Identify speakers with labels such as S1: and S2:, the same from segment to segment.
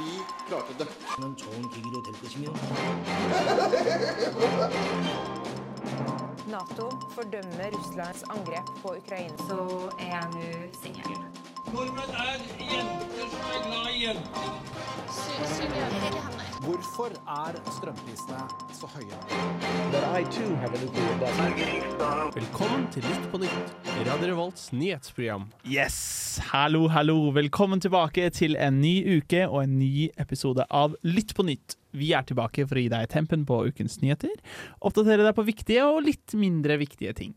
S1: 이 klarte det.
S2: 는 좋은 계기로 될 것이며
S3: Nato fordømmer Russlands angrep på Ukraina.
S4: så er jeg nå singel.
S5: Nordmenn er jenter som er glad i jenter.
S6: Hvorfor er strømprisene så høye?
S7: Velkommen til Nytt på nytt, Radio Revolts nyhetsprogram. Yes! Hallo, hallo. Velkommen tilbake til en ny uke og en ny episode av Lytt på nytt. Vi er tilbake for å gi deg tempen på ukens nyheter, oppdatere deg på viktige og litt mindre viktige ting.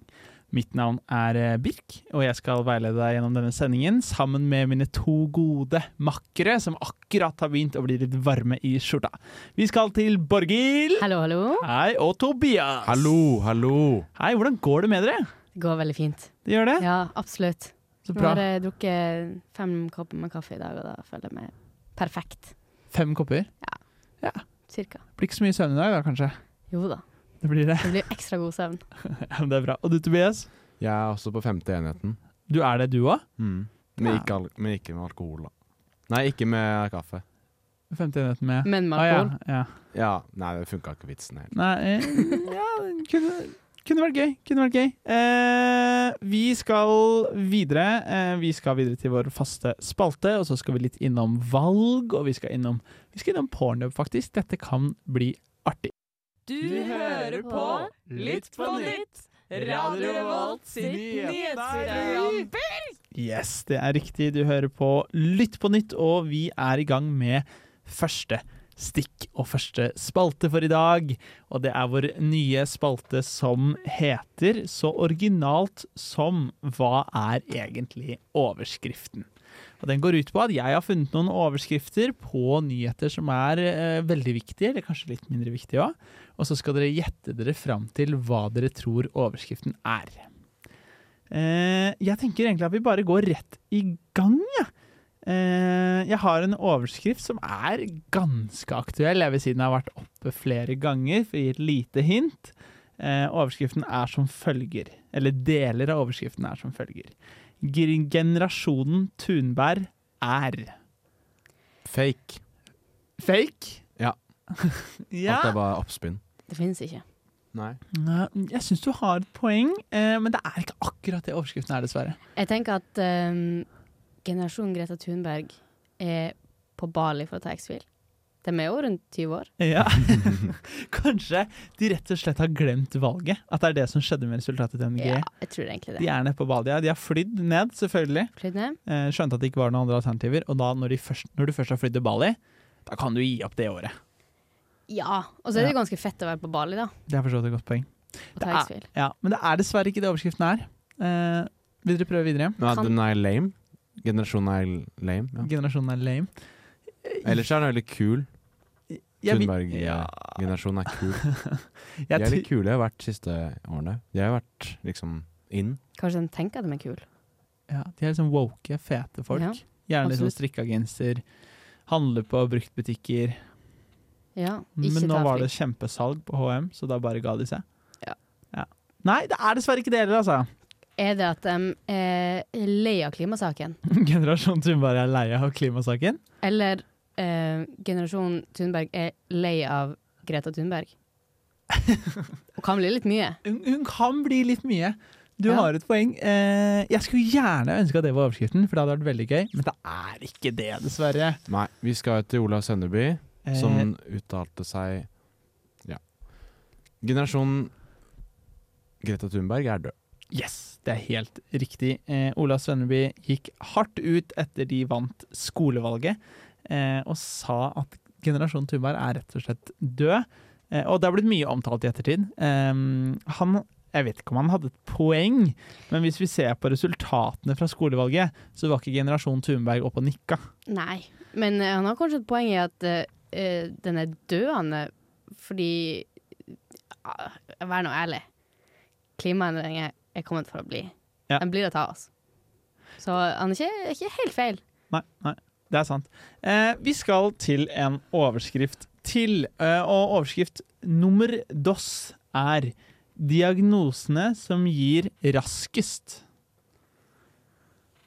S7: Mitt navn er eh, Birk, og jeg skal veilede deg gjennom denne sendingen sammen med mine to gode makkere, som akkurat har begynt å bli litt varme i skjorta. Vi skal til Borghild
S8: Hallo, hallo.
S7: Hei, og Tobias.
S9: Hallo, hallo.
S7: Hei, hvordan går det med dere?
S8: Det går veldig fint.
S7: Det gjør det?
S8: Ja, absolutt.
S7: Så
S8: Nå
S7: bra.
S8: har jeg drukket fem kopper med kaffe i dag, og da føler jeg meg perfekt.
S7: Fem kopper.
S8: Cirka.
S7: Blir ikke så mye søvn i dag, da, kanskje?
S8: Jo da.
S7: Det blir det.
S8: Det blir ekstra god søvn.
S7: Ja, men det er bra. Og du, Tobias?
S9: Jeg er også på femte enheten.
S7: Du er det, du òg?
S9: Men,
S7: Mm. Ja.
S9: ikke al men ikke med alkohol, da. Nei, ikke med kaffe.
S7: Femte enheten med
S8: Men med
S7: Å, Ah, ja,
S8: alkohol.
S7: ja.
S9: Ja, Nei, det funka ikke vitsen helt.
S7: Nei eh, Ja, det kunne, kunne vært gøy. Kunne vært gøy. Eh, vi skal videre. Eh, vi skal videre til vår faste spalte, og så skal vi litt innom valg, og vi skal innom, vi skal innom pornhub, faktisk. Dette kan bli artig.
S10: Du
S7: hører på Lytt på nytt, Radio Revolt sitt nyhetsprogram. Yes, det er riktig. Du hører på Lytt på nytt, og vi er i gang med første stikk og første spalte for i dag. Og det er vår nye spalte som heter så originalt som Hva er egentlig overskriften? Og den går ut på at jeg har funnet noen overskrifter på nyheter som er eh, veldig viktige, eller kanskje litt mindre viktige òg. Og så skal dere gjette dere fram til hva dere tror overskriften er. Eh, jeg tenker egentlig at vi bare går rett i gang, jeg. Eh, jeg har en overskrift som er ganske aktuell. Jeg vil si den har vært oppe flere ganger, for å gi et lite hint. Eh, overskriften er som følger, eller deler av overskriften er som følger. Gr- Generasjonen Tunberg er
S9: Fake.
S7: Fake?
S9: Ja.
S7: ja.
S9: At det var oppspinn.
S8: Det finnes ikke.
S9: Nei.
S7: Nei, Jeg syns du har et poeng, eh, men det er ikke akkurat det overskriften er, dessverre.
S8: Jeg tenker at ehm, generasjonen Greta Thunberg er på Bali for å ta X-Fil. De er jo rundt 20 år.
S7: Ja. Kanskje de rett og slett har glemt valget. At det er det som skjedde med resultatet til MDG.
S8: Ja, jeg tror egentlig
S7: De
S8: det.
S7: er nede på Badia. De har flydd ned, selvfølgelig.
S8: Flydd ned?
S7: Eh, Skjønte at det ikke var noen andre alternativer. Og da, når, de først, når du først har flydd til Bali, da kan du gi opp det året.
S8: Ja. Og så er det jo ganske fett å være på Bali, da.
S7: Det er for så vidt et godt poeng.
S8: Og
S7: Det
S8: ta
S7: er,
S8: X-Fil.
S7: ja, men det er dessverre ikke det overskriften er. Eh, vil dere prøve videre?
S9: Men
S8: Kan-
S9: den er lame. Generasjonen er lame. Ja.
S7: Generasjonen er lame.
S9: Ellers er den veldig kul.
S7: Jeg vil- ja,
S9: Thunberg-generasjonen er kul. De
S7: jeg
S9: er litt
S7: tror-
S9: kule, har vært siste årene. De har vært liksom in.
S8: Kanskje de tenker at de er kule.
S7: ja, de er liksom woke, fete folk.
S8: Ja,
S7: Gjerne liksom
S8: absolutt.
S7: strikka genser. Handler på bruktbutikker.
S8: Ja, ikke
S7: Men nå
S8: ta
S7: var
S8: fly.
S7: det kjempesalg på HM, så da bare ga de seg.
S8: Ja.
S7: Ja. Nei, det er dessverre ikke det heller, altså.
S8: Er det at de er lei av klimasaken?
S7: Generasjon Thunberg er lei av klimasaken.
S8: Eller eh, generasjonen Thunberg er lei av Greta Thunberg? Og kan bli litt mye.
S7: Hun, hun kan bli litt mye. Du
S8: Ja.
S7: har et poeng. Eh, jeg skulle gjerne ønske at det var overskriften, for det hadde vært veldig gøy. Men det er ikke det, dessverre.
S9: Nei, vi skal til Olav Sønneby.
S7: Eh,
S9: som uttalte seg Ja. Generasjonen Greta Thunberg er død.
S7: Yes, det er helt riktig. Eh, Ola Svenneby gikk hardt ut etter de vant skolevalget, eh, og sa at generasjon Thunberg er rett og slett død. Eh, og det har blitt mye omtalt i ettertid. Eh, han jeg vet ikke om han hadde et poeng, men hvis vi ser på resultatene fra skolevalget, så var ikke generasjon Thunberg oppe og nikka.
S8: Nei. Men eh, han har kanskje et poeng i at eh, den er døende fordi ah, Vær nå ærlig. Klimaendringer er kommet for å bli.
S7: Ja.
S8: Den blir det av oss. Så han er ikke, ikke helt feil.
S7: Nei, nei, det er sant. Eh, vi skal til en overskrift til, eh, og overskrift nummer dos er diagnosene som gir raskest.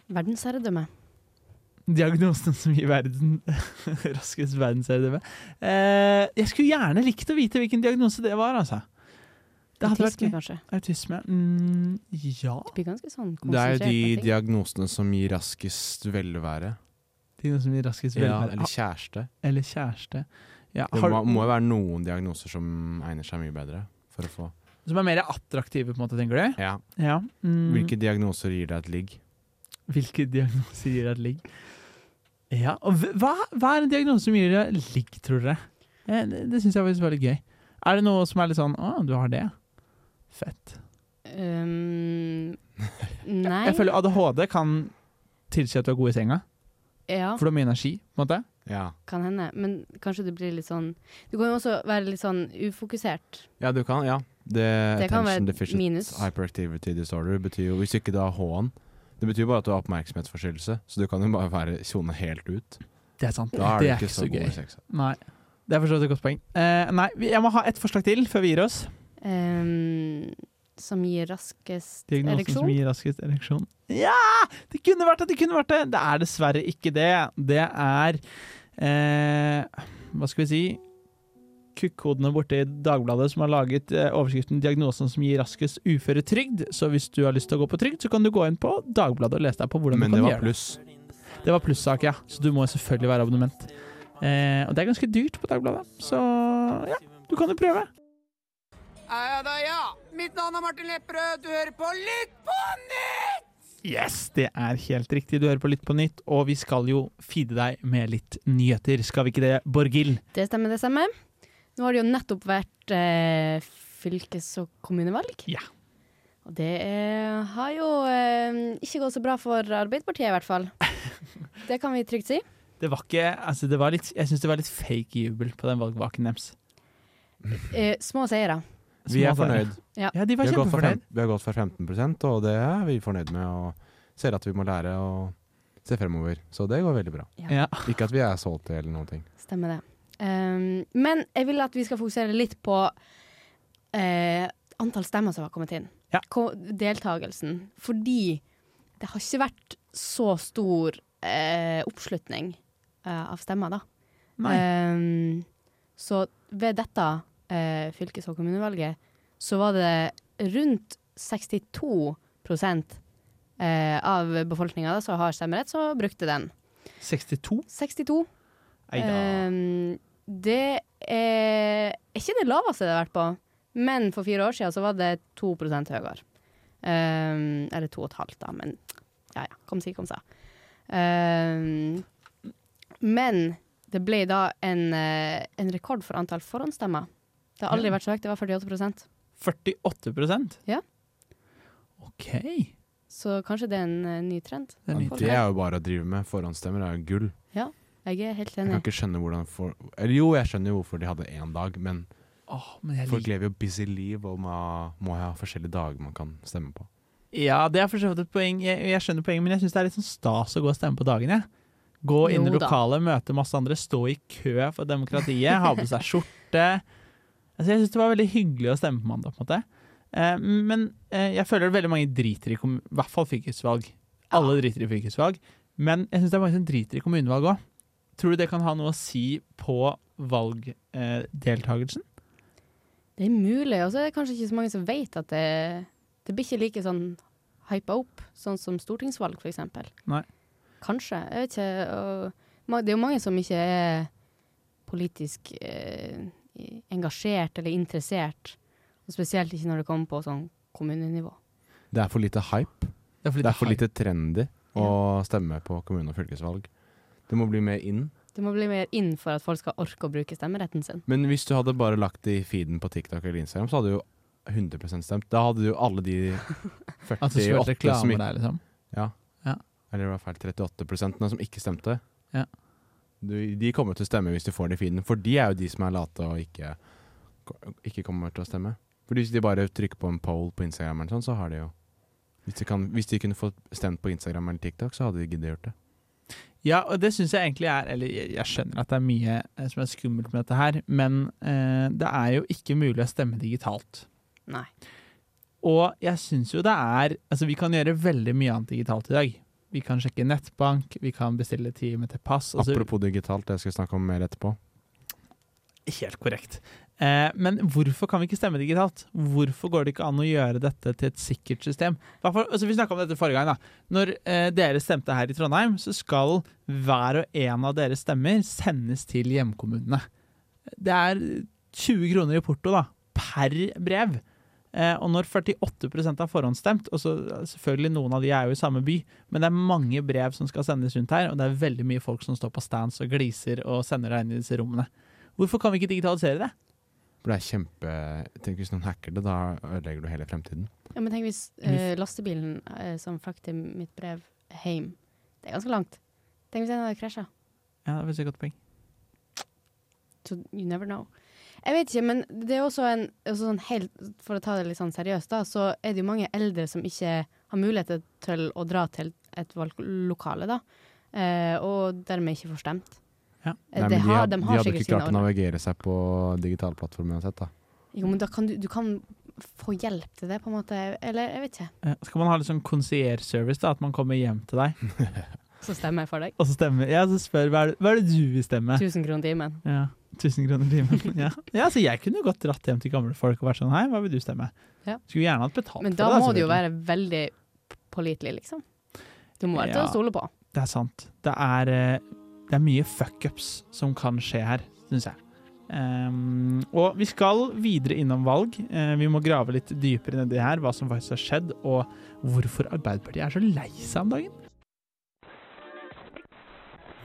S8: Verdensherredømme.
S7: Diagnosen som gir verden raskest verdensherredømme. Eh, jeg skulle gjerne likt å vite hvilken diagnose det var, altså. Det hadde
S8: Autisme,
S7: vært gøy.
S8: kanskje.
S7: Autisme? Mm, ja.
S8: Det blir ganske sånn
S9: Det er jo
S8: konsentrert.
S9: de
S8: om ting.
S9: diagnosene som gir raskest velvære.
S7: Det er noe som gir raskest
S9: Ja,
S7: velferd.
S9: eller kjæreste.
S7: Ah, eller kjæreste. Ja,
S9: Det
S7: har,
S9: må, må jo være noen diagnoser som egner seg mye bedre for å få
S7: som er mer attraktive, på en måte, tenker du?
S9: Ja.
S7: Ja. Mm,
S9: Hvilke diagnoser gir deg et ligg?
S7: Hvilke diagnoser gir deg et ligg? Ja, og hv- hva, hva er en diagnose som gir deg et ligg, tror dere? Eh, Det, det syns jeg faktisk var litt gøy. Er det noe som er litt sånn Å, du har det? ja. Fett.
S8: Um, nei.
S7: Jeg føler ADHD kan tilsi at du er god i senga,
S8: ja,
S7: for du har mye energi. på en måte.
S9: Ja.
S8: kan hende. Men kanskje det blir litt sånn Du kan jo også være litt sånn ufokusert.
S9: ja, du kan. Ja. Det,
S8: Det kan være
S9: attention
S8: et
S9: deficit
S8: minus.
S9: hyperactivity disorder betyr jo Hvis ikke du har H-en, det betyr jo bare at du har oppmerksomhetsforstyrrelse. Så du kan jo bare være sone helt ut.
S7: Det er sant.
S9: Da er
S7: det
S9: du
S7: er
S9: ikke så god i sex.
S7: Nei. Det er for så vidt et godt poeng. Eh, nei, vi- jeg må ha ett forslag til før vi gir oss.
S8: Um, som gir raskest
S7: Diagnosen som
S8: ereksjon.
S7: gir raskest ereksjon. Ja! Det kunne vært det! Det kunne vært det! Det er dessverre ikke det. Det er eh, Hva skal vi si? Kukkodene borte i Dagbladet som har laget eh, overskriften 'Diagnosen som gir raskest uføretrygd'. Så hvis du har lyst til å gå på trygd, så kan du gå inn på Dagbladet og lese deg på hvordan
S9: Men
S7: du
S9: det
S7: kan
S9: var
S7: gjøre det.
S9: pluss.
S7: Det var plussak, ja. Så du må selvfølgelig være abonnement. Eh, og det er ganske dyrt på Dagbladet, så ja, du kan jo prøve.
S1: Ja da, ja. Mitt navn er Martin Lepperød. Du hører på Lytt på nytt!
S7: Yes, det er helt riktig. Du hører på Litt på nytt, og vi skal jo feede deg med litt nyheter. Skal vi ikke det, Borghild?
S8: Det stemmer, det stemmer. Nå har det jo nettopp vært eh, fylkes- og kommunevalg.
S7: Ja.
S8: Og det eh, har jo eh, ikke gått så bra for Arbeiderpartiet, i hvert fall. Det kan vi trygt si.
S7: Det var ikke Altså, det var litt Jeg syns det var litt fake jubel på den valgvaken deres.
S8: Eh, små seire.
S9: Vi
S7: Små
S9: altså er
S7: seier.
S9: fornøyd.
S7: Ja, de var
S9: Vi har, gått for
S7: kjempefornøyd.
S9: fem, vi har gått for 15 og det er vi fornøyd med. Og ser at vi må lære å se fremover. Så det går veldig bra.
S7: Ja.
S9: Ikke at vi er solgt eller noen ting.
S8: Stemmer det. Um, men jeg vil at vi skal fokusere litt på eh, antall stemmer som har kommet inn.
S7: Ja.
S8: Ko- Deltagelsen. Fordi det har ikke vært så stor eh, oppslutning eh, av stemmer, da.
S7: Nei.
S8: Um, så ved dette eh, fylkes- og kommunevalget så var det rundt 62 eh, av befolkninga som har stemmerett, så brukte den.
S7: 62?
S8: 62
S7: Nei da.
S8: Ehm, det er ikke det laveste det har vært på, men for fire år siden så var det 2 høyere. Ehm, eller 2,5, da, men ja ja. Kom si, kom sa. Ehm, men det ble da en, eh, en rekord for antall forhåndsstemmer. Det har aldri
S7: Ja.
S8: vært så høyt, det var 48
S7: 48
S8: Ja.
S7: OK.
S8: Så kanskje det er en eh, ny trend.
S7: Det er nytt.
S9: Det er jo bare å drive med. Forhåndsstemmer er jo gull.
S8: Jeg er helt
S9: Jeg
S8: enig.
S9: kan ikke skjønne hvordan for, Eller jo, jeg skjønner jo hvorfor de hadde én dag, men
S7: Åh, men jeg
S9: folk
S7: liker
S9: lever jo busy liv og ma- må ha forskjellige dager man kan stemme på.
S7: Ja, det er for så vidt et poeng. Jeg, jeg skjønner poenget, men jeg syns det er litt sånn stas å gå og stemme på dagen, jeg. Gå inn i
S8: Jo da.
S7: lokalet, møte masse andre, stå i kø for demokratiet, ha på seg skjorte. Altså, jeg syns det var veldig hyggelig å stemme på mandag, på en måte. Eh, men eh, jeg føler veldig mange driter i kommu- I hvert fall fylkesvalg. Alle driter i fylkesvalg. Men jeg syns det er mange som driter i kommunevalg òg. Tror du det kan ha noe å si på eh, valgdeltakelsen?
S8: Det er mulig, og så er det kanskje ikke så mange som vet at det, det blir ikke like sånn hypa opp, sånn som stortingsvalg f.eks.
S7: Nei.
S8: Kanskje. Jeg vet ikke. Og, ma- det er jo mange som ikke er politisk eh, i- engasjert eller interessert, og spesielt ikke når det kommer på sånn kommunenivå.
S9: Det er for lite hype.
S7: det er for
S9: Det er for lite trendy å stemme på kommune- og fylkesvalg. Det må bli mer inn.
S8: Det må bli mer inn for at folk skal orke å bruke stemmeretten sin.
S9: Men hvis du hadde bare lagt det i feeden på TikTok eller Instagram, så hadde du jo 100 stemt. Da hadde du jo alle de
S7: At altså, det skulle vært
S9: 48 som
S7: reklame
S9: ikke
S7: der, liksom.
S9: Eller det var feil, 38 som ikke stemte.
S7: Ja.
S9: Du, de kommer til å stemme hvis du får det i feeden, for de er jo de som er late og ikke, ikke kommer til å stemme. For hvis de bare trykker på en poll på Instagram, eller sånn, så har de jo hvis de, kan, hvis de kunne fått stemt på Instagram eller TikTok, så hadde de giddet gjort det.
S7: Ja, og det syns jeg egentlig er Eller jeg, jeg skjønner at det er mye eh, som er skummelt med dette her, men eh, det er jo ikke mulig å stemme digitalt.
S8: Nei.
S7: Og jeg syns jo det er Altså, vi kan gjøre veldig mye annet digitalt i dag. vi kan sjekke nettbank, vi kan bestille time til pass. altså, og så-
S9: Apropos digitalt, det skal jeg snakke om mer etterpå.
S7: Helt korrekt. Eh, men hvorfor kan vi ikke stemme digitalt? Hvorfor går det ikke an å gjøre dette til et sikkert system? Hva for- altså, vi snakka om dette forrige gang. da. Når eh, dere stemte her i Trondheim, så skal hver og en av deres stemmer sendes til hjemkommunene. Det er 20 kroner i porto da, per brev. Eh, og når 48 har forhåndsstemt, og så selvfølgelig noen av de er jo i samme by, men det er mange brev som skal sendes rundt her, og det er veldig mye folk som står på stands og gliser og sender deg inn i disse rommene. Hvorfor kan vi ikke digitalisere det?
S9: For det er kjempe Tenk hvis noen hacker det, da ødelegger du hele fremtiden.
S8: Ja, men tenk hvis eh, lastebilen eh, som frakter mitt brev hjem Det er ganske langt. Tenk hvis den hadde krasja.
S7: Ja, det er faktisk et godt poeng.
S8: So you never know. Jeg vet ikke, men det er også en også sånn helt, For å ta det litt sånn seriøst, da, så er det jo mange eldre som ikke har mulighet til å dra til et valglokale, da. Eh, og dermed ikke får stemt.
S7: Ja.
S8: Eh,
S9: Nei,
S8: de,
S9: men
S8: har,
S9: had-
S8: de
S9: de
S8: har
S9: hadde
S8: sikkert
S9: ikke klart å
S8: sine ordninger.
S9: navigere seg på digitale plattformer uansett, da.
S8: Jo, men da kan du, du kan få hjelp til det, på en måte. Eller jeg vet ikke.
S7: Eh, Skal man ha litt sånn concierge-service, da? At man kommer hjem til deg
S8: Så stemmer jeg for deg.
S7: og så stemmer Ja, så spør hva er det, hva er det du vil stemme?
S8: 1000 kroner timen.
S7: Ja, 1000 kroner timen. Ja. ja, så jeg kunne jo godt dratt hjem til gamle folk og vært sånn Hei, hva vil du stemme?
S8: Ja.
S7: Skulle gjerne hatt betalt
S8: Men
S7: for det.
S8: da må du jo
S7: selvfølgelig.
S8: være veldig p- pålitelig, liksom. Du må være til
S7: Ja.
S8: å stole på.
S7: Det er sant. Det er, eh, det er mye fuckups som kan skje her, syns jeg. Ehm, og vi skal videre innom valg. Eh, vi må grave litt dypere nedi her hva som faktisk har skjedd, og hvorfor Arbeiderpartiet er så lei seg om dagen.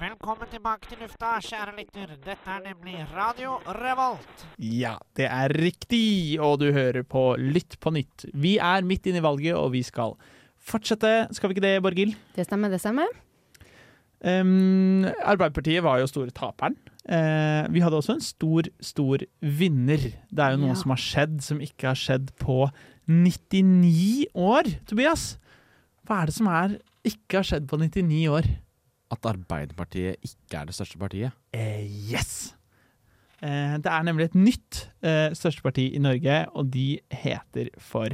S10: Velkommen tilbake til lufta, kjære lytter. Dette er nemlig Radio Revolt.
S7: Ja, det er riktig, og du hører på Lytt på nytt. Vi er midt inne i valget, og vi skal fortsette. Skal vi ikke det, Borghild?
S8: Det stemmer, det stemmer.
S7: Ehm, Arbeiderpartiet var jo store taperen. Eh, vi hadde også en stor, stor vinner. Det er jo noe
S8: Ja.
S7: som har skjedd som ikke har skjedd på 99 år, Tobias. Hva er det som er ikke har skjedd på 99 år?
S9: At Arbeiderpartiet ikke er det største partiet.
S7: Eh, yes! Eh, det er nemlig et nytt eh, største parti i Norge, og de heter for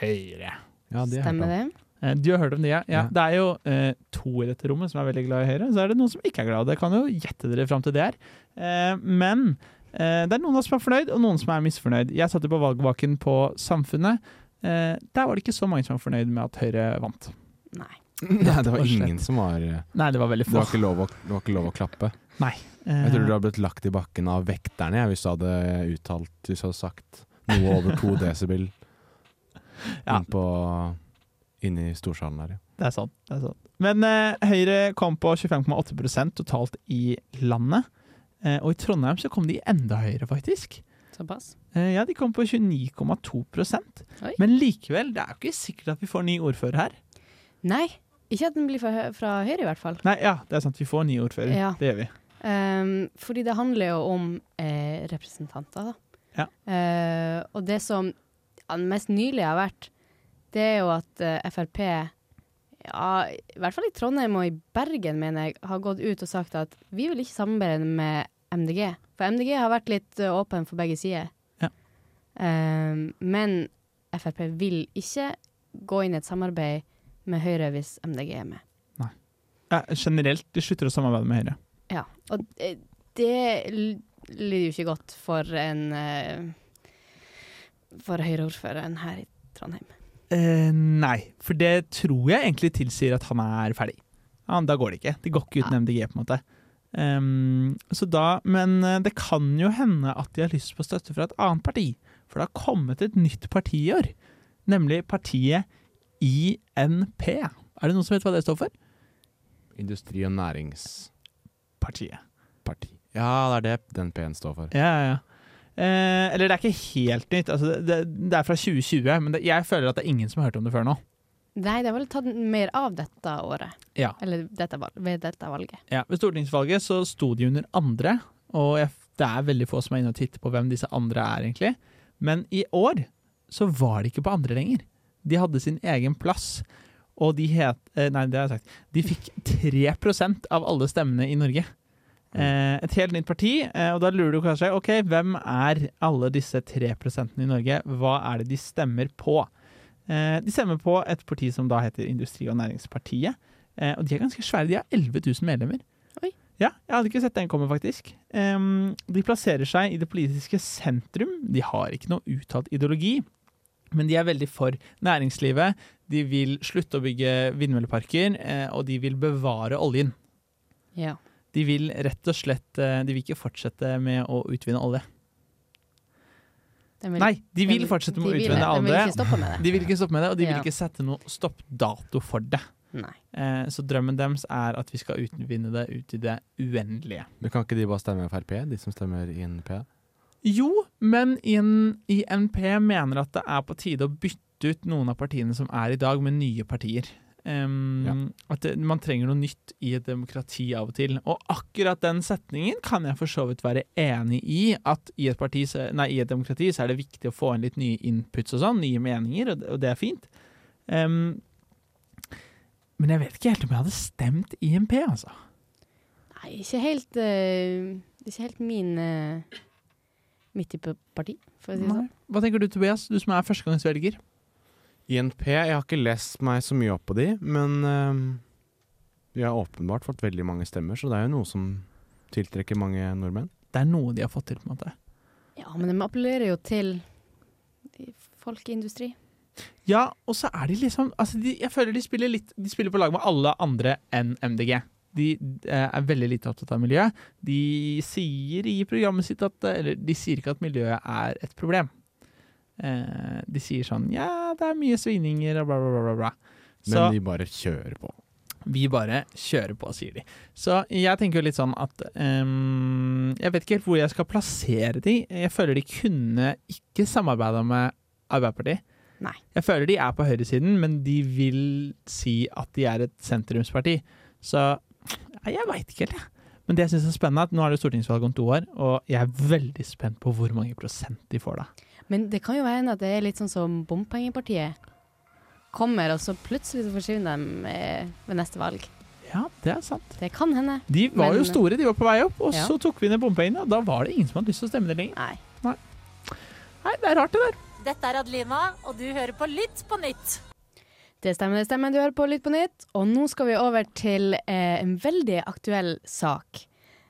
S7: Høyre.
S9: Ja, det
S8: Stemmer det.
S7: Eh, Du har hørt om de, ja. ja.
S9: Ja.
S7: Det er jo eh, to i dette rommet som er veldig glad i Høyre. Så er det noen som ikke er glad. Det kan jo gjette dere fram til det er. Eh, men eh, det er noen som er fornøyd, og noen som er misfornøyd. Jeg satt jo på valgvaken på Samfunnet. Eh, der var det ikke så mange som var fornøyd med at Høyre vant.
S8: Nei.
S9: Nei, det
S7: Rett og
S9: var
S7: slett.
S9: ingen som var eh, Det
S7: Nei, det var veldig få.
S9: var ikke lov å, det var ikke lov å klappe.
S7: Eh,
S9: Jeg tror du hadde blitt lagt i bakken av vekterne jeg, hvis du hadde uttalt Hvis du hadde sagt noe over to desibel
S7: Ja.
S9: inn på Inne i storsalen der, ja.
S7: Det er sant. Det er sant. Men eh, Høyre kom på 25,8 totalt i landet. Eh, og i Trondheim så kom de enda høyere, faktisk.
S8: Såpass.
S7: Eh, Ja, de kom på 29,2
S8: Oi.
S7: Men likevel, det er jo ikke sikkert at vi får ny ordfører her.
S8: Nei. Ikke at den blir fra, hø- fra Høyre, i hvert fall.
S7: Nei, ja, det er sant, vi får ny ordfører.
S8: Ja.
S7: Det gjør vi.
S8: Um, fordi det handler jo om eh, representanter, da.
S7: Ja.
S8: Eh, og det som ja, den mest nylig har vært, det er jo at eh, Frp, ja, i hvert fall i Trondheim og i Bergen, mener jeg, har gått ut og sagt at vi vil ikke samarbeide med MDG. For MDG har vært litt eh, åpen for begge sider.
S7: Ja.
S8: Um, men Frp vil ikke gå inn i et samarbeid med Høyre hvis MDG er med.
S7: Ja, generelt, de slutter å samarbeide med Høyre.
S8: Ja, og eh, det l- lyder jo ikke godt for en eh, For Høyre-ordføreren her i Trondheim.
S7: Eh, nei, for det tror jeg egentlig tilsier at han er ferdig. Ja, da går det ikke. Det går ikke uten MDG, på en måte. Ehm, så da, men eh, det kan jo hende at de har lyst på støtte fra et annet parti. For det har kommet et nytt parti i år. Nemlig partiet INP. Er det noen som vet hva det står for?
S9: Industri- og næringsparti.
S7: Partiet.
S9: Ja, det er det den P-en står for.
S7: Ja, ja, ja. Eh, eller det er ikke helt nytt. Altså, det, det, det er fra 2020, men det, jeg føler at det er ingen som har hørt om det før nå.
S8: Nei, det har vel tatt mer av dette året.
S7: Ja.
S8: Eller dette, val- ved dette valget.
S7: Ja, ved stortingsvalget så sto de under andre, og jeg, det er veldig få som er inne og titter på hvem disse andre er, egentlig. Men i år så var de ikke på andre lenger. De hadde sin egen plass, og de het eh, Nei, det har jeg sagt. De fikk 3 av alle stemmene i Norge. Eh, et helt nytt parti, eh, og da lurer du kanskje ok, hvem er alle disse 3 i Norge? Hva er det de stemmer på? Eh, de stemmer på et parti som da heter Industri- og Næringspartiet. Eh, og de er ganske svære. De har 11 000 medlemmer.
S8: Oi.
S7: Ja, jeg hadde ikke sett den komme, faktisk. Em, de plasserer seg i det politiske sentrum. De har ikke noe uttalt ideologi, men de er veldig for næringslivet. De vil slutte å bygge vindmølleparker, eh, og de vil bevare oljen.
S8: Ja.
S7: De vil rett og slett eh, De vil ikke fortsette med å utvinne olje.
S8: De vil-
S7: Nei, de vil
S8: vil-
S7: fortsette med å
S8: de vil
S7: utvinne
S8: det. De vil
S7: olje.
S8: ikke stoppe med det.
S7: De vil ikke stoppe med det, og de vil
S8: Ja.
S7: ikke sette noe stoppdato for det.
S8: Nei.
S7: Eh, Så drømmen deres er at vi skal utvinne det ut i det uendelige.
S9: Men kan ikke de bare stemme Frp, de som stemmer i NP?
S7: Jo, men inn i NP mener at det er på tide å bytte ut noen av partiene som er i dag, med nye partier. Em, At det, man trenger noe nytt i et demokrati av og til. Og akkurat den setningen kan jeg for så vidt være enig i. At i et, parti, så- nei, i et demokrati så er det viktig å få inn litt nye inputs og sånn, nye meninger, og det, og det er fint. Em, men jeg vet ikke helt om jeg hadde stemt IMP, altså.
S8: Nei, ikke helt eh, Det er ikke helt min eh, mitt type parti, for å si det sånn.
S7: Nei. Hva tenker du, Tobias, du som er førstegangsvelger?
S9: I NP, jeg har ikke lest meg så mye opp på de, men eh, de har åpenbart fått veldig mange stemmer, så det er jo noe som tiltrekker mange nordmenn.
S7: Det er noe de har fått til, på en måte.
S8: Ja, men de appellerer jo til folkeindustri.
S7: Ja, og så er de liksom altså de, Jeg føler de spiller, litt, de spiller på lag med alle andre enn MDG. De eh, er veldig lite opptatt av miljø. De sier i programmet sitt at eh, Eller de sier ikke at miljøet er et problem. Eh, de sier sånn Ja, det er mye svingninger og bla, bla, bla. bla, bla.
S9: Men
S7: Så-
S9: de bare kjører på.
S7: Vi bare kjører på, sier de. Så jeg tenker jo litt sånn at ehm, Jeg vet ikke helt hvor jeg skal plassere de. Jeg føler de kunne ikke samarbeida med Arbeiderpartiet.
S8: Nei.
S7: Jeg føler de er på høyresiden, men de vil si at de er et sentrumsparti. Så nei, jeg veit ikke helt, jeg. Men det jeg syns er spennende, er at nå er det stortingsvalg om to år, og jeg er veldig spent på hvor mange prosent de får da.
S8: Men det kan jo hende at det er litt sånn som bompengepartiet kommer, og så plutselig så forsvinner de eh, ved neste valg.
S7: Ja, det er sant.
S8: Det kan hende.
S7: De var jo
S8: Men-
S7: store, de var på vei opp, og
S8: Ja.
S7: så tok vi ned bompengene, og da var det ingen som hadde lyst til å stemme det lenger.
S8: Nei.
S7: Nei, det er rart, det der.
S11: Dette er Adelina, og du hører på Lytt på nytt.
S8: Det stemmer, det stemmer. Du hører på Lytt på nytt. Og nå skal vi over til eh, en veldig aktuell sak.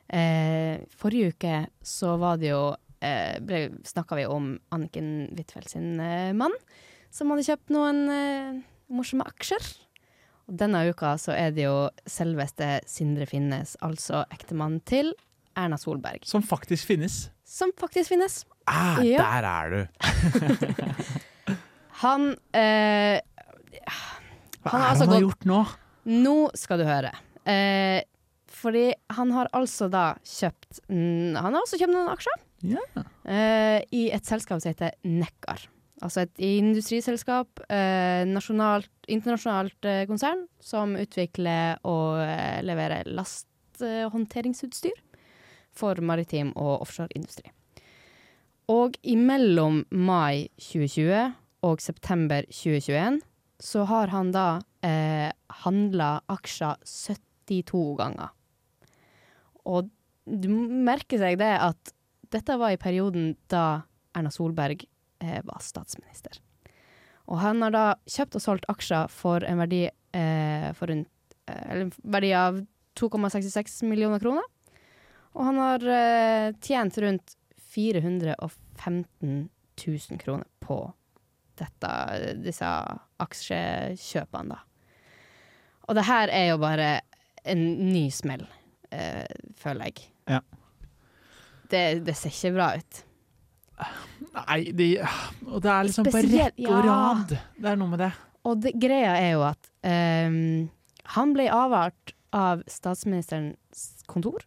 S8: Eh, forrige uke så var det jo eh, Snakka vi om Anniken Huitfeldt sin eh, mann, som hadde kjøpt noen eh, morsomme aksjer. Og denne uka så er det jo selveste Sindre Finnes, altså ektemannen til Erna Solberg,
S7: som faktisk finnes.
S8: som faktisk finnes.
S9: Ah,
S8: Ja.
S9: der er du!
S8: Han eh,
S7: Hva
S8: Han
S7: er
S8: har
S7: det
S8: altså
S7: han har
S8: gått-
S7: gjort nå?
S8: Nå skal du høre. Eh, fordi han har altså da kjøpt mm, Han har også kjøpt noen aksjer
S7: Ja.
S8: eh, i et selskap som heter Nekkar. Altså et industriselskap, eh, nasjonalt, internasjonalt eh, konsern, som utvikler og eh, leverer lasthåndteringsutstyr for maritim og offshoreindustri. Og imellom mai 2020 og september 2021 så har han da eh, handla aksjer 72 ganger. Og du merker seg det at dette var i perioden da Erna Solberg eh, var statsminister. Og han har da kjøpt og solgt aksjer for en verdi, eh, for rundt, eh, eller en verdi av 2,66 millioner kroner. Og han har eh, tjent rundt 415 000 kroner på dette, disse aksjekjøpene, da. Og det her er jo bare en ny smell, eh, føler jeg.
S7: Ja.
S8: Det, det ser ikke bra ut.
S7: Nei, de, og det er liksom på
S8: Spesielt-
S7: rekke og
S8: ja.
S7: rad. Det er noe med det.
S8: Og det, greia er jo at ehm, han ble avhørt av statsministerens kontor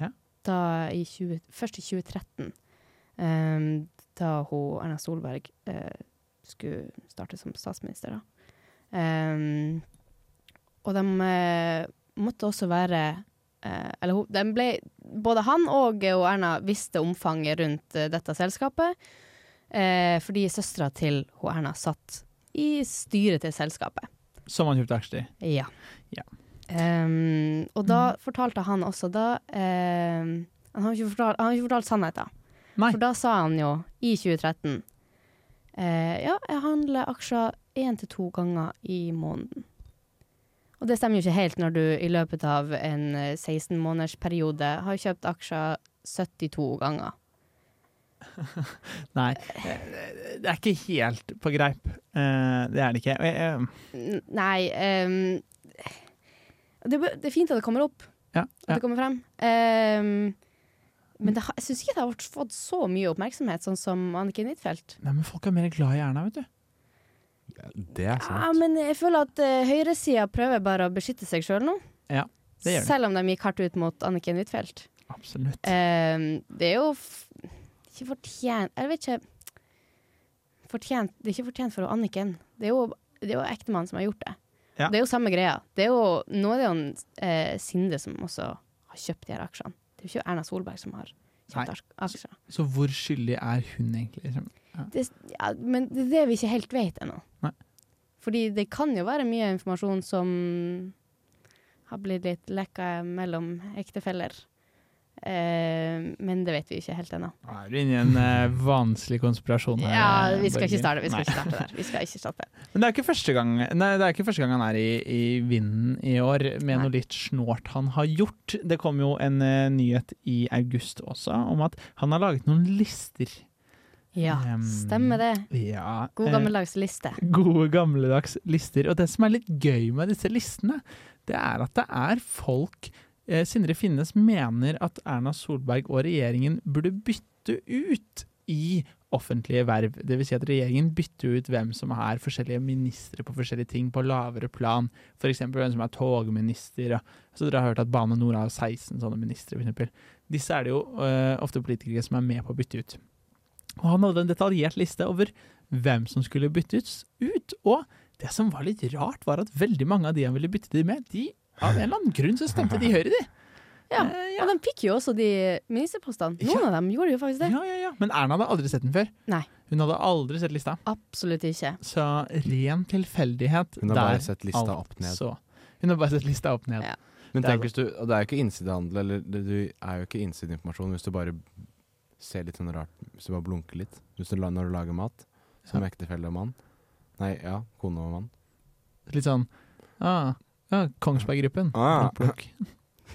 S7: Ja.
S8: da i 20, først i 2013, ehm, da hun, Erna Solberg eh, skulle starte som statsminister. Da. Ehm, og de eh, måtte også være eh, Eller hun, de ble, både han og, eh, og Erna visste omfanget rundt eh, dette selskapet, eh, fordi søstera til hun, Erna satt i styret til selskapet.
S7: Som han kjøpte aksjer i.
S8: Ja.
S7: Ja.
S8: Ehm, og da fortalte han også da ehm, han, har jo ikke fortalt, han har ikke fortalt sannheten.
S7: Nei.
S8: For da sa han jo, i 2013 eh, Ja, jeg handler aksjer én til to ganger i måneden. Og det stemmer jo ikke helt når du i løpet av en 16-månedersperiode har kjøpt aksjer 72 ganger.
S7: Nei, eh, det er ikke helt på greip. Eh, Det er det ikke. Og jeg- jeg-
S8: N- Nei ehm, det, er bø- det er fint at det kommer opp,
S7: Ja,
S8: at
S7: ja.
S8: det kommer frem. Ehm, men det, har- jeg syns ikke det har vært- fått så mye oppmerksomhet, sånn som Anniken Huitfeldt.
S7: Nei, men folk er mer glad i Erna, vet du.
S9: Det er
S8: Ja,
S9: sant.
S8: men jeg føler at uh, høyresida prøver bare å beskytte seg sjøl nå.
S7: Ja, det gjør de.
S8: Selv om de gikk hardt ut mot Anniken Huitfeldt.
S7: Absolutt.
S8: Ehm, det er jo f ikke fortjent Jeg vet ikke fortjent, Det er ikke fortjent for Anniken. Det er jo, det er jo ektemann som har gjort det.
S7: Ja.
S8: Det er jo samme greia. Det er jo, nå er det jo en, eh, Sinde som også har kjøpt de her aksjene. Det er jo ikke Erna Solberg som har
S7: Nei.
S8: kjøpt ak- aksjer.
S7: Så hvor skyldig er hun egentlig? liksom?
S8: Det, ja, men det er det vi ikke helt vet ennå.
S7: Nei.
S8: Fordi det kan jo være mye informasjon som har blitt litt lekka mellom ektefeller. Eh, men det vet vi ikke helt ennå.
S7: Nå er du inne i en eh, vanskelig konspirasjon her.
S8: Ja,
S7: eh,
S8: vi skal
S7: Borghild.
S8: ikke starte, vi skal
S7: Nei.
S8: ikke starte der. Vi skal ikke starte.
S7: Men det er ikke første gang, nei, det er ikke første gang han er i, i vinden i år, med
S8: Nei.
S7: noe litt snålt han har gjort. Det kom jo en eh, nyhet i august også om at han har laget noen lister.
S8: Ja,
S7: Ehm,
S8: stemmer det.
S7: Ja,
S8: God
S7: eh,
S8: gammeldags liste.
S7: gode gammeldags lister. Og det som er litt gøy med disse listene, det er at det er folk eh, Sindre Finnes mener at Erna Solberg og regjeringen burde bytte ut i offentlige verv. Dvs. Si at regjeringen bytter ut hvem som er forskjellige ministre på forskjellige ting på lavere plan. F.eks. hvem som er togminister. Og, så dere har hørt at Bane Nor har 16 sånne ministre. For eksempel. Disse er det jo eh, ofte politikere som er med på å bytte ut. Og han hadde en detaljert liste over hvem som skulle byttes ut. Og det som var litt rart, var at veldig mange av de han ville bytte de med, de av en eller annen grunn så stemte de Høyre, de.
S8: Ja,
S7: Eh,
S8: Og de fikk jo også de ministerpostene. Noen
S7: Ja.
S8: av dem gjorde jo faktisk det.
S7: ja, ja, ja. Men Erna hadde aldri sett den før.
S8: Nei.
S7: Hun hadde aldri sett lista.
S8: Absolutt ikke.
S7: Så ren tilfeldighet
S9: Hun har bare
S7: der,
S9: sett lista opp ned.
S7: altså. Hun har bare sett lista opp ned.
S8: Ja.
S9: Men
S7: Det er-
S9: tenk hvis du, og det er jo ikke innsidehandel, eller det, du er jo ikke innsideinformasjon hvis du bare ser litt sånn rart, hvis du bare blunker litt. Hvis du, la- når du lager mat, som
S7: Ja.
S9: ektefelle og mann. Nei, ja, kone og mann.
S7: Litt sånn ah, ja, Kongsberg Gruppen.
S9: Ah.
S7: Plukk, plukk.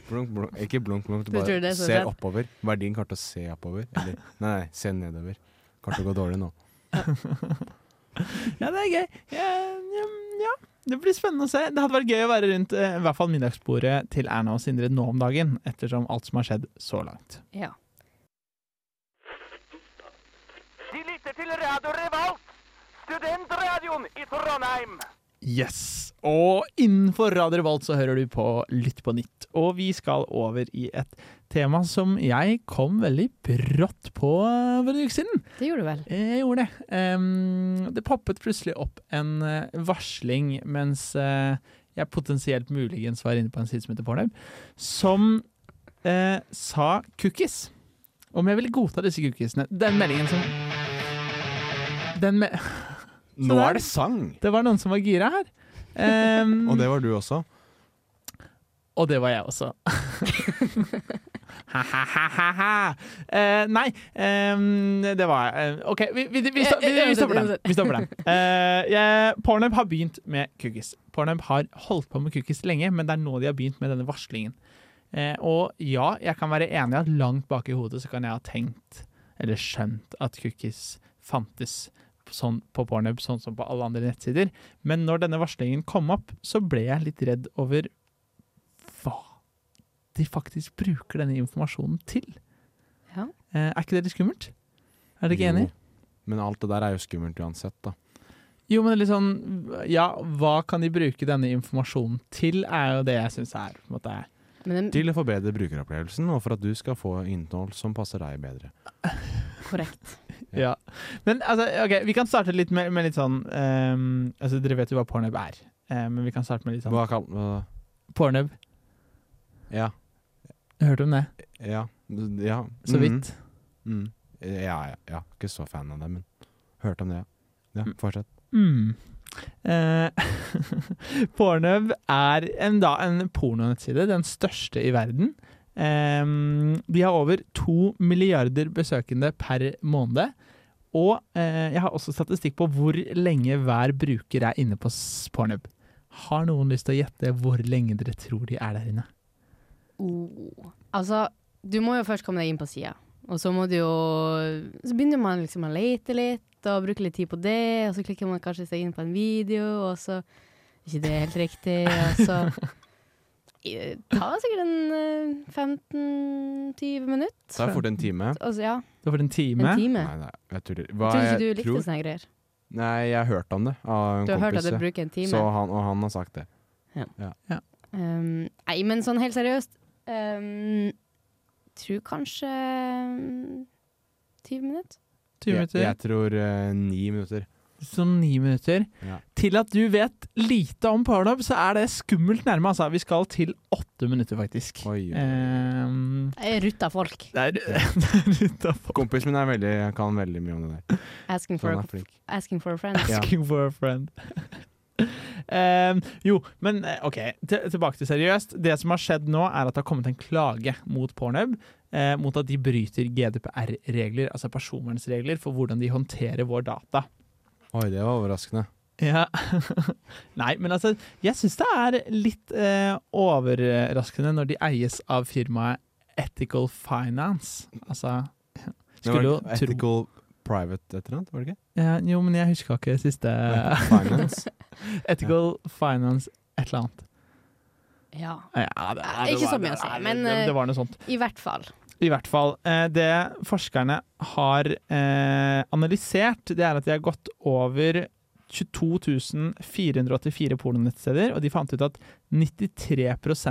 S9: Blunk, blunk. Ikke blunk, blunk, du
S8: Du tror
S9: bare
S8: det er så
S9: ser
S8: rett?
S9: oppover. Verdien kommer til å se oppover. Eller, nei, nei, se nedover. Kommer til å gå dårlig nå.
S7: Ja, det er gøy. Ja, ja, ja. Det blir spennende å se. Det hadde vært gøy å være rundt eh, i hvert fall middagsbordet til Erna og Sindre nå om dagen, ettersom alt som har skjedd så langt.
S8: Ja.
S10: De lytter til Radio Revolt, studentradioen i Trondheim.
S7: Yes! Og innenfor Radio Revolt så hører du på Lytt på nytt. Og vi skal over i et tema som jeg kom veldig brått på eh, for en uke siden.
S8: Det gjorde du vel.
S7: Jeg gjorde det. Ehm, det poppet plutselig opp en eh, varsling mens eh, jeg potensielt muligens var inne på en side som heter Pornhub, som eh, sa cookies. Om jeg ville godta disse cookiesene. Den meldingen som den me
S9: Nå er Mm. det sang!
S7: Det var noen som var gira her. Ehm,
S9: Og det var du også.
S7: Og det var jeg også. Ha-ha-ha-ha! Eh, nei, ehm, det var jeg. Eh, OK, vi, vi, vi, sto- vi, vi stopper den. Vi stopper den. Eh, jeg, Pornhub har begynt med cookies. Pornhub har holdt på med cookies lenge, men det er nå de har begynt med denne varslingen. Eh, og ja, jeg kan være enig i at langt bak i hodet så kan jeg ha tenkt eller skjønt at cookies fantes sånn på Pornhub, sånn som på alle andre nettsider. Men når denne varslingen kom opp, så ble jeg litt redd over hva de faktisk bruker denne informasjonen til.
S8: Ja.
S7: Eh, er ikke det litt skummelt? Er dere ikke enig?
S9: Men alt det der er jo skummelt uansett, da.
S7: Jo, men litt sånn Ja, hva kan de bruke denne informasjonen til, er jo det jeg syns er på en måte er
S8: Men det
S9: Til å forbedre brukeropplevelsen, og for at du skal få innhold som passer deg bedre.
S8: er korrekt.
S7: Ja. Men altså, OK, vi kan starte litt med, med litt sånn ehm, Altså, dere vet jo hva pornhub er, eh, men vi kan starte med litt sånn
S9: Hva kall... hva-
S7: Pornhub,
S9: ja.
S7: hørte om det?
S9: Ja. ja.
S7: Så
S9: mhm,
S7: vidt.
S9: mhm. Ja, ja, ja. Ikke så fan av det, men hørte om det, ja. Ja, fortsett.
S7: Mm. Eh, Pornhub er en, da, en pornonettside, den største i verden. Ehm, de har over to milliarder besøkende per måned. Og eh, jeg har også statistikk på hvor lenge hver bruker er inne på s- Pornhub. Har noen lyst til å gjette hvor lenge dere tror de er der inne?
S8: Oh. Altså, du må jo først komme deg inn på sida, og så må du jo Så begynner man liksom å lete litt og bruke litt tid på det, og så klikker man kanskje seg inn på en video, og så er ikke det helt riktig, og så Eh, tar sikkert en eh, 15-20 minutter.
S9: Så er det fort en time.
S8: Altså, ja,
S7: Det var en time.
S8: en time.
S9: Nei, nei, jeg tuller.
S8: Jeg
S9: Hva
S8: tror
S9: jeg
S8: ikke du likte
S9: tror
S8: sånne greier.
S9: Nei, jeg har hørt om det av en
S8: Du har hørt at
S9: kompis.
S8: det bruker en time.
S9: så han, og han har sagt det.
S8: Um, nei, men sånn helt seriøst um, Tror kanskje um, 20 minutter.
S7: 20
S9: Jeg,
S7: minutter.
S9: jeg tror eh, ni minutter.
S7: Sånn ni minutter.
S9: Ja.
S7: Til at du vet lite om pornhub, så er det skummelt nærme. Altså. Vi skal til åtte minutter, faktisk.
S9: Oi, oi.
S7: Ehm,
S8: Jeg er Rutta folk.
S7: det er, det er utafor.
S9: Kompisen min er veldig, kan veldig mye om det der.
S8: Asking
S9: Så
S8: for,
S9: han Sånn er
S8: a,
S9: flink.
S8: asking for a friend.
S9: Ja.
S7: Asking for a friend. Ehm, jo, men eh, OK. til- Tilbake til seriøst. Det som har skjedd nå, er at det har kommet en klage mot Pornhub. eh, mot at de bryter GDPR-regler, altså personvernsregler, for hvordan de håndterer vår data.
S9: Oi, det var overraskende.
S7: Ja. Nei, men altså, jeg syns det er litt eh, overraskende når de eies av firmaet Ethical Finance. Altså
S9: Det var
S7: Skulle jo
S9: ikke
S7: tro
S9: Ethical private et eller annet, var det ikke?
S7: ja, Jo, men jeg huska ikke siste
S9: Finance.
S7: Ethical Finance et eller annet.
S8: Ja.
S7: Ja, det,
S8: Ja, ikke
S7: var-
S8: så mye å si,
S7: det-
S8: men,
S7: det,
S8: eh,
S7: det var noe sånt.
S8: I hvert fall.
S7: I hvert fall. Eh, det forskerne har eh, analysert, det er at de har gått over 22.484 pornonettsteder, og de fant ut at 93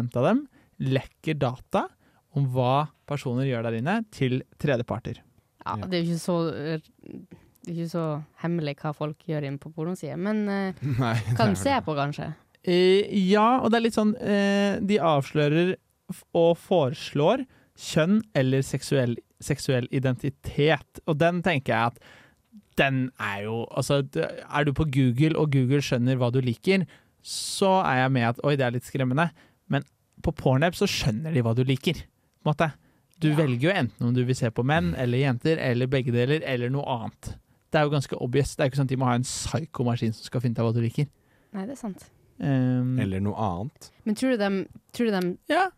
S7: av dem lekker data om hva personer gjør der inne, til tredjeparter.
S8: Ja,
S9: Ja.
S8: Det er jo ikke så eh, Det er ikke så hemmelig hva folk gjør inne på pornosida, men eh,
S9: Nei, det er
S8: kan
S9: vel-
S8: du se på, kanskje?
S7: Eh, ja, og det er litt sånn eh, De avslører f- og foreslår kjønn eller seksuell, seksuell identitet. Og den tenker jeg at den er jo Altså, det- er du på Google, og Google skjønner hva du liker, så er jeg med at oi, det er litt skremmende. Men på Pornhub så skjønner de hva du liker. På en måte. Du velger jo enten om du vil se på menn eller jenter eller begge deler eller noe annet. Det er jo ganske obvious. Det er jo ikke sånn at de må ha en psykomaskin som skal finne ut av hva du liker.
S8: Nei, det er sant.
S7: Um,
S9: Eller noe annet.
S8: Men tror du dem, tror du dem
S7: Ja,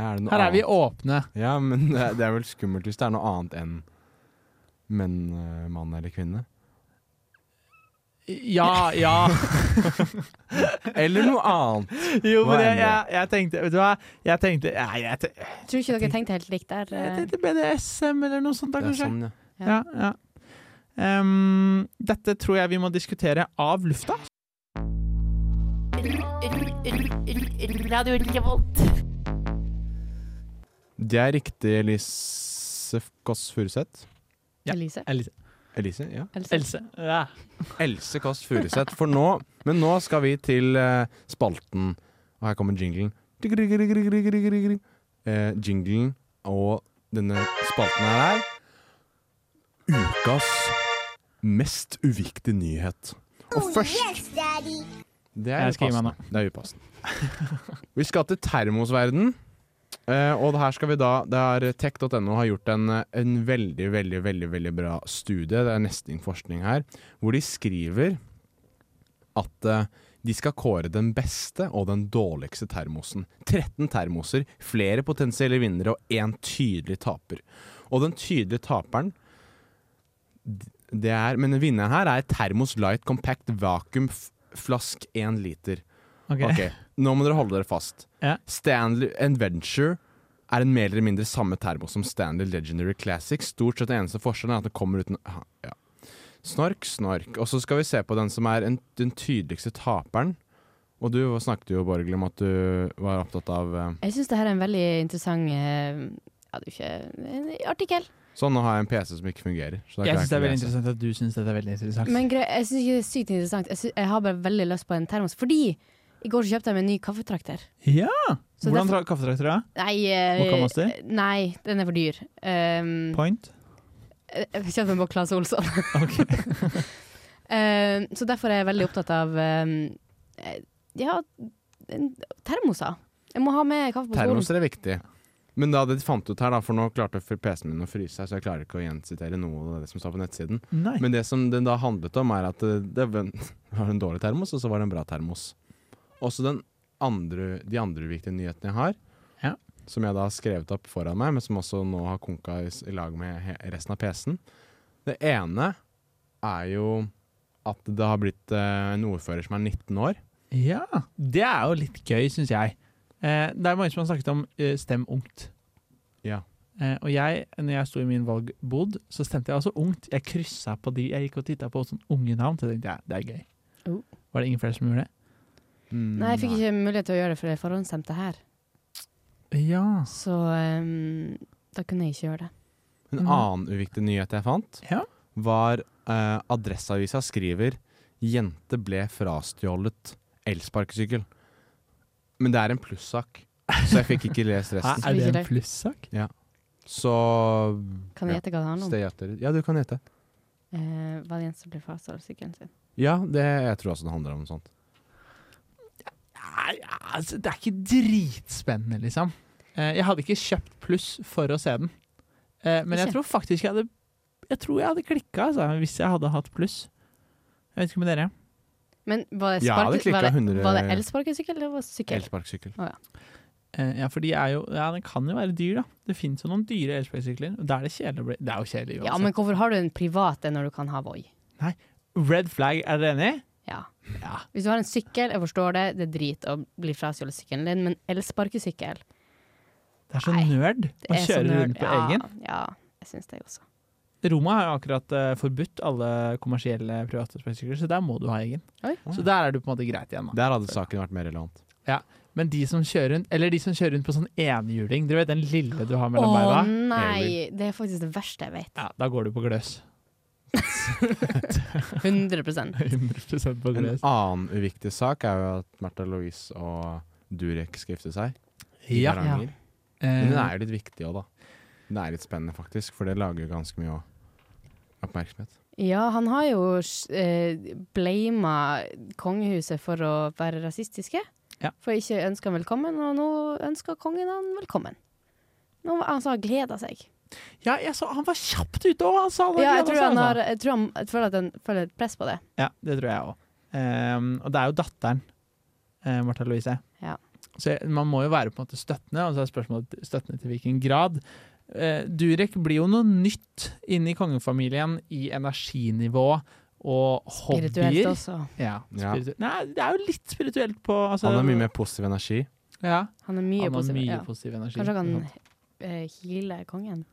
S9: Er det noe
S7: her er vi
S9: annet?
S7: åpne.
S9: Ja, men det er, det er vel skummelt hvis det er noe annet enn menn, eh, mann eller kvinne.
S7: Ja, ja.
S9: Eller noe annet!
S7: Jo, men
S9: Hva
S7: jeg,
S9: er det?
S7: jeg, jeg tenkte Vet du hva? Jeg tenkte Nei, jeg, te-
S8: Tror ikke dere tenkte helt likt der?
S7: jeg
S8: eh?
S7: tenkte BDSM eller noe sånt, da,
S9: Det er
S7: kanskje.
S9: sånn, ja.
S7: Ja, ja. Ehm, dette tror jeg vi må diskutere av lufta.
S11: Radio Revolt.
S9: Det er riktig Elise Kåss Furuseth.
S7: Ja.
S8: eh, Elise?
S7: Elise.
S9: Elise, ja.
S8: Else?
S7: Else. Ja.
S9: Else Kåss Furuseth. For nå Men nå skal vi til eh, spalten, og her kommer jinglen. Digg-digg-digg-digg-digg-digg-digg. Eh, jinglen og denne spalten her er ukas mest uviktige nyhet. Og først Det er
S7: Jeg skal gi meg
S9: upassende. Det er upassende. Vi skal til termosverden. Eh, og her skal vi da det er Tech.no har gjort en, eh, en veldig veldig, veldig, veldig bra studie. Det er nesten forskning her. Hvor de skriver at eh, de skal kåre den beste og den dårligste termosen. 13 termoser, flere potensielle vinnere og én tydelig taper. Og den tydelige taperen d- det er, Men vinneren her er Termos Light Compact Vacuum f- Flask 1 liter.
S7: Ok.
S9: Ok, Nå må dere holde dere fast.
S7: Ja.
S9: Stanley Adventure er en mer eller mindre samme termos som Stanley Legendary Classic. Stort sett den eneste forskjellen er at den kommer uten aha, ja. Snork, snork. Og så skal vi se på den som er en, den tydeligste taperen. Og du snakket jo, Borgli, om at du var opptatt av eh,
S8: Jeg syns det her er en veldig interessant eh, ja, det er jo ikke, en artikkel.
S9: Sånn, nå har jeg en PC som ikke fungerer. Så da
S7: Jeg syns
S9: klarer
S7: det er
S9: ikke å
S7: veldig
S9: lese.
S7: interessant at du syns dette er veldig interessant.
S8: Men grei, jeg syns ikke det er sykt interessant. Jeg, synes, jeg har bare veldig lyst på en termos. Fordi i går så kjøpte jeg meg en ny kaffetrakter.
S7: ja!
S8: Så
S7: Hvordan
S8: derfor-
S7: tra- kaffetrakter er det?
S8: Nei, eh,
S7: Mokka Master?
S8: nei, den er for dyr. Um,
S7: Point?
S8: jeg jeg kjøpte den på Claes Olsson.
S7: Ok.
S8: Um, så derfor er jeg veldig opptatt av um, eh, ja, en- termoser. Jeg må ha med kaffe på skolen.
S9: Termoser er viktig. Men da det de fant ut her, da, for nå klarte PC-en min å fryse seg, så jeg klarer ikke å gjensitere noe av det som står på nettsiden.
S7: Nei.
S9: Men det som den da handlet om, er at eh, det var en- det var en dårlig termos, og så var det en bra termos. Også den andre, de andre viktige nyhetene jeg har,
S7: Ja.
S9: som jeg da har skrevet opp foran meg, men som også nå har konka i, s- i lag med he resten av PC-en. Det ene er jo at det har blitt eh, en ordfører som er 19 år.
S7: Ja, det er jo litt gøy, syns jeg. Eh, det er mange som har snakket om eh, stem ungt.
S9: Ja.
S7: Eh, og jeg, når jeg sto i min valgbod, så stemte jeg altså ungt. Jeg kryssa på de jeg gikk og titta på, sånn unge navn. Så jeg tenkte jeg, det er gøy.
S8: Oh.
S7: Var det ingen flere som gjorde det?
S8: Nei, jeg fikk ikke mulighet til å gjøre det, for jeg forhåndsstemte her.
S7: Ja.
S8: Så ehm, da kunne jeg ikke gjøre det.
S9: En
S7: Mhm.
S9: annen uviktig nyhet jeg fant,
S7: Ja.
S9: var eh, Adresseavisa skriver 'Jente ble frastjålet elsparkesykkel'. Men det er en plussak, så jeg fikk ikke lest
S7: Hæ,
S9: resten.
S7: er det en
S8: Sikkert.
S7: plussak?
S9: Så
S8: Kan jeg gjette hva det handler om?
S9: stay out there. Ja, du kan gjette.
S8: Eh, var det en som ble frastjålet sykkelen sin?
S9: Ja, det, jeg tror også det handler om noe sånt.
S7: Nei, altså, det er ikke dritspennende, liksom. Eh, jeg hadde ikke kjøpt pluss for å se den. Eh, men jeg
S8: Ikke?
S7: tror faktisk jeg hadde Jeg tror jeg hadde klikka altså, hvis jeg hadde hatt pluss. Jeg vet ikke med dere.
S8: Men var det,
S9: Ja,
S8: sparke,
S9: det klikket
S8: var det,
S9: 100
S8: var det elsparkesykkel eller var det sykkel?
S9: Elsparkesykkel.
S7: Eh, ja, for de er jo Ja, den kan jo være dyr, da. Det fins jo noen dyre elsparkesykler. og Da er det kjedelig å bli Det er jo kjedelig
S8: Ja,
S7: uansett.
S8: men hvorfor har du en privat en når du kan ha Voi?
S7: Red flag, er dere enig?
S8: Ja.
S7: Ja.
S8: Hvis du har en sykkel, jeg forstår det, det er drit å bli frastjålet sykkelen din, men elsparkesykkel
S7: Det er så
S8: Nei,
S7: nerd å
S8: det er så
S7: kjøre
S8: nerd.
S7: rundt på
S8: ja,
S7: egen.
S8: Ja, jeg syns det også.
S7: Roma har jo akkurat eh, forbudt alle kommersielle private sparkesykler, så der må du ha egen.
S8: Oi.
S7: Så der er du på en måte greit igjen, da.
S9: Der hadde saken vært mer relevant.
S7: Men de som kjører rundt Eller de som kjører rundt på sånn enhjuling Dere vet den lille du har
S8: Å
S7: mellom beina?
S8: nei, det er faktisk det verste jeg vet.
S7: Ja, da går du på gløs.
S8: 100
S7: 100 på
S9: En annen uviktig sak er jo at Märtha Louise og Durek skal gifte seg. i
S7: Ja.
S9: Stavanger. Men den
S7: Eh,
S9: er jo litt viktig òg, da. Den er litt spennende, faktisk, for det lager jo ganske mye oppmerksomhet.
S8: Ja, han har jo eh, blama kongehuset for å være rasistiske.
S7: Ja.
S8: For ikke ønska han velkommen, og nå ønsker kongen han velkommen. Nå var- altså, han gleda seg.
S7: eh, ja, jeg så, han var kjapt ute òg! Han sa det!
S8: Ja, jeg
S7: gleder
S8: tror
S7: seg,
S8: han
S7: altså.
S8: har Jeg, tror han, jeg føler at han føler et press på det.
S7: Ja, det tror jeg òg. og det er jo datteren, uh, Martha Louise.
S8: Ja.
S7: Så jeg- man må jo være på en måte støttende, og så er spørsmålet støttende til hvilken grad. Eh, Durek blir jo noe nytt inn i kongefamilien i energinivå og hobbyer.
S8: Spirituelt også.
S7: Ja,
S9: Ja.
S7: spiritu- Nei, det er jo litt spirituelt på altså,
S9: Han har mye mer positiv energi.
S7: Ja,
S8: Han er mye
S7: han har
S8: positiv.
S7: mye
S8: Ja.
S7: positiv energi.
S8: Kanskje han kan eh, heale kongen.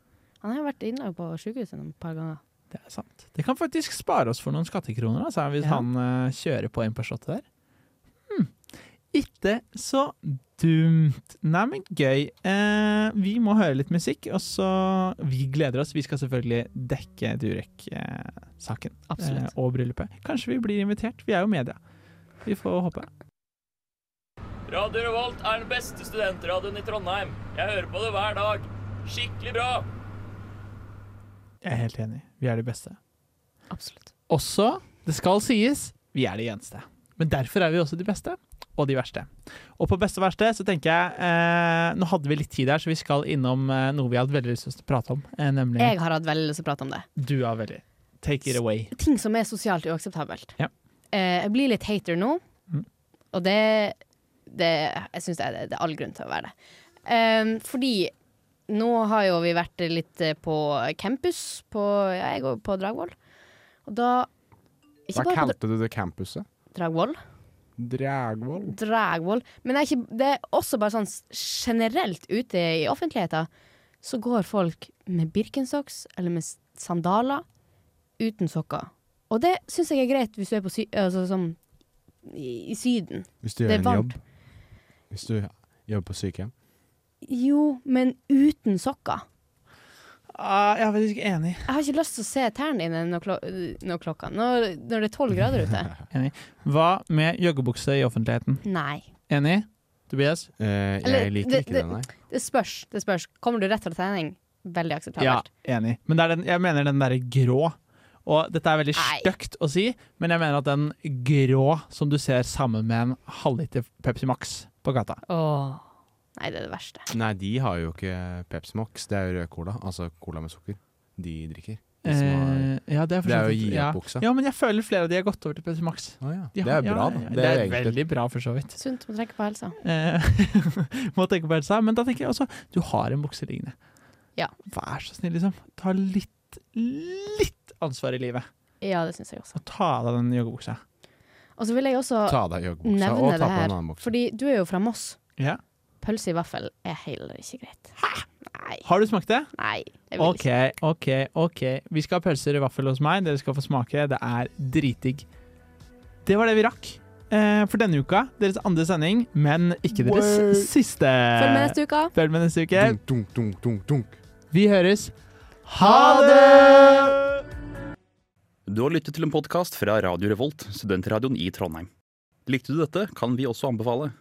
S8: Han har jo vært innlagt på sykehuset et par ganger.
S7: Det er sant. Det kan faktisk spare oss for noen skattekroner, altså, hvis
S8: Ja.
S7: han eh, kjører på en per shot der. Hmm. Ikke så dumt. Nei, men gøy. Eh, vi må høre litt musikk, og så Vi gleder oss. Vi skal selvfølgelig dekke Durek-saken.
S8: Absolutt.
S7: eh, og bryllupet. Kanskje vi blir invitert. Vi er jo media. Vi får håpe.
S12: Radio Revolt er den beste studentradioen i Trondheim. Jeg hører på det hver dag. Skikkelig bra!
S7: Jeg er helt enig. Vi er de beste.
S8: Absolutt.
S7: Også, det skal sies, vi er de eneste. Men derfor er vi også de beste, og de verste. Og på beste og verste så tenker jeg eh, Nå hadde vi litt tid her, så vi skal innom eh, noe vi hadde veldig lyst til å prate om. Eh, nemlig
S8: Jeg har hatt veldig lyst til å prate om det.
S7: du har veldig Take it away.
S8: ting som er sosialt uakseptabelt.
S7: Ja.
S8: Eh, jeg blir litt hater nå,
S7: Mm.
S8: og det, det Jeg syns det, er- det er all grunn til å være det. Em, fordi nå har jo vi vært litt eh, på campus, på, ja, jeg går på Dragvoll. Og da Ikke
S9: Hva
S8: bare på Dra-
S9: kalte du det campuset?
S8: Dragvoll,
S9: Dragvoll?
S8: Dragvoll. Men det er, ikke, det er også bare sånn s- generelt ute i offentligheten, så går folk med Birkenstocks eller med s- sandaler uten sokker. Og det syns jeg er greit hvis du er på sy altså, som, i, i Syden.
S9: Hvis du
S8: Det
S9: gjør
S8: er
S9: en
S8: varmt.
S9: jobb. Hvis du jobber på sykehjem.
S8: Jo, men uten sokker.
S7: Ah, jeg er faktisk enig.
S8: Jeg har ikke lyst til å se tærne dine når, klo når klokka når, når det er tolv grader ute.
S7: Hva med joggebukse i offentligheten?
S8: Nei.
S7: Enig? Tobias?
S9: Eh,
S8: Eller,
S9: jeg liker
S8: det-
S9: ikke det, nei.
S8: Det spørs. det spørs Kommer du rett fra trening? Veldig
S7: Ja,
S8: akseptabelt.
S7: enig. Men det er den, jeg mener den derre grå. Og dette er veldig
S8: Nei.
S7: stygt å si, men jeg mener at den grå som du ser sammen med en halvliter Pepsi Max på gata
S8: Åh. Nei, det er det verste.
S9: Nei, de har jo ikke Pepsi Max. Det er jo rød cola. Altså cola med sukker. De drikker. De som har
S7: Eh, Ja, det er, for
S9: Det
S7: så
S9: er jo
S7: vidt-
S9: å gi
S7: ja.
S9: opp buksa.
S7: Ja, men jeg føler flere av de har gått over til Pepsi Max. De
S9: Det
S7: har-
S9: er bra, da.
S7: ja,
S9: Det
S7: Det
S9: er
S7: er
S9: egentlig-
S7: veldig bra, for så vidt.
S8: Sunt må trekke på helsa.
S7: Eh, må tenke på helsa. Men da tenker jeg også du har en bukse liggende.
S8: Ja.
S7: Vær så snill, liksom. Ta litt, litt ansvar i livet.
S8: Ja, det syns jeg også.
S7: Og ta av deg den joggebuksa.
S8: Og så vil jeg også
S9: Ta av deg joggebuksa,
S8: nevne
S9: og ta på
S8: det
S9: en
S8: her,
S9: annen bukse.
S8: fordi du er jo fra Moss.
S7: Ja.
S8: Pølse i vaffel er heller ikke greit.
S7: Har du smakt det?
S8: Nei. Jeg vil
S7: OK, OK, OK. Vi skal ha pølser i vaffel hos meg. Dere skal få smake. Det er dritdigg. Det var det vi rakk eh, for denne uka. Deres andre sending, men ikke deres
S9: Word.
S7: siste.
S8: Følg med neste uke.
S7: Følg med neste uke.
S9: Dunk, dunk, dunk, dunk, dunk.
S7: Vi høres. Ha det!
S13: Du har lyttet til en podkast fra Radio Revolt, studentradioen i Trondheim. Likte du dette, kan vi også anbefale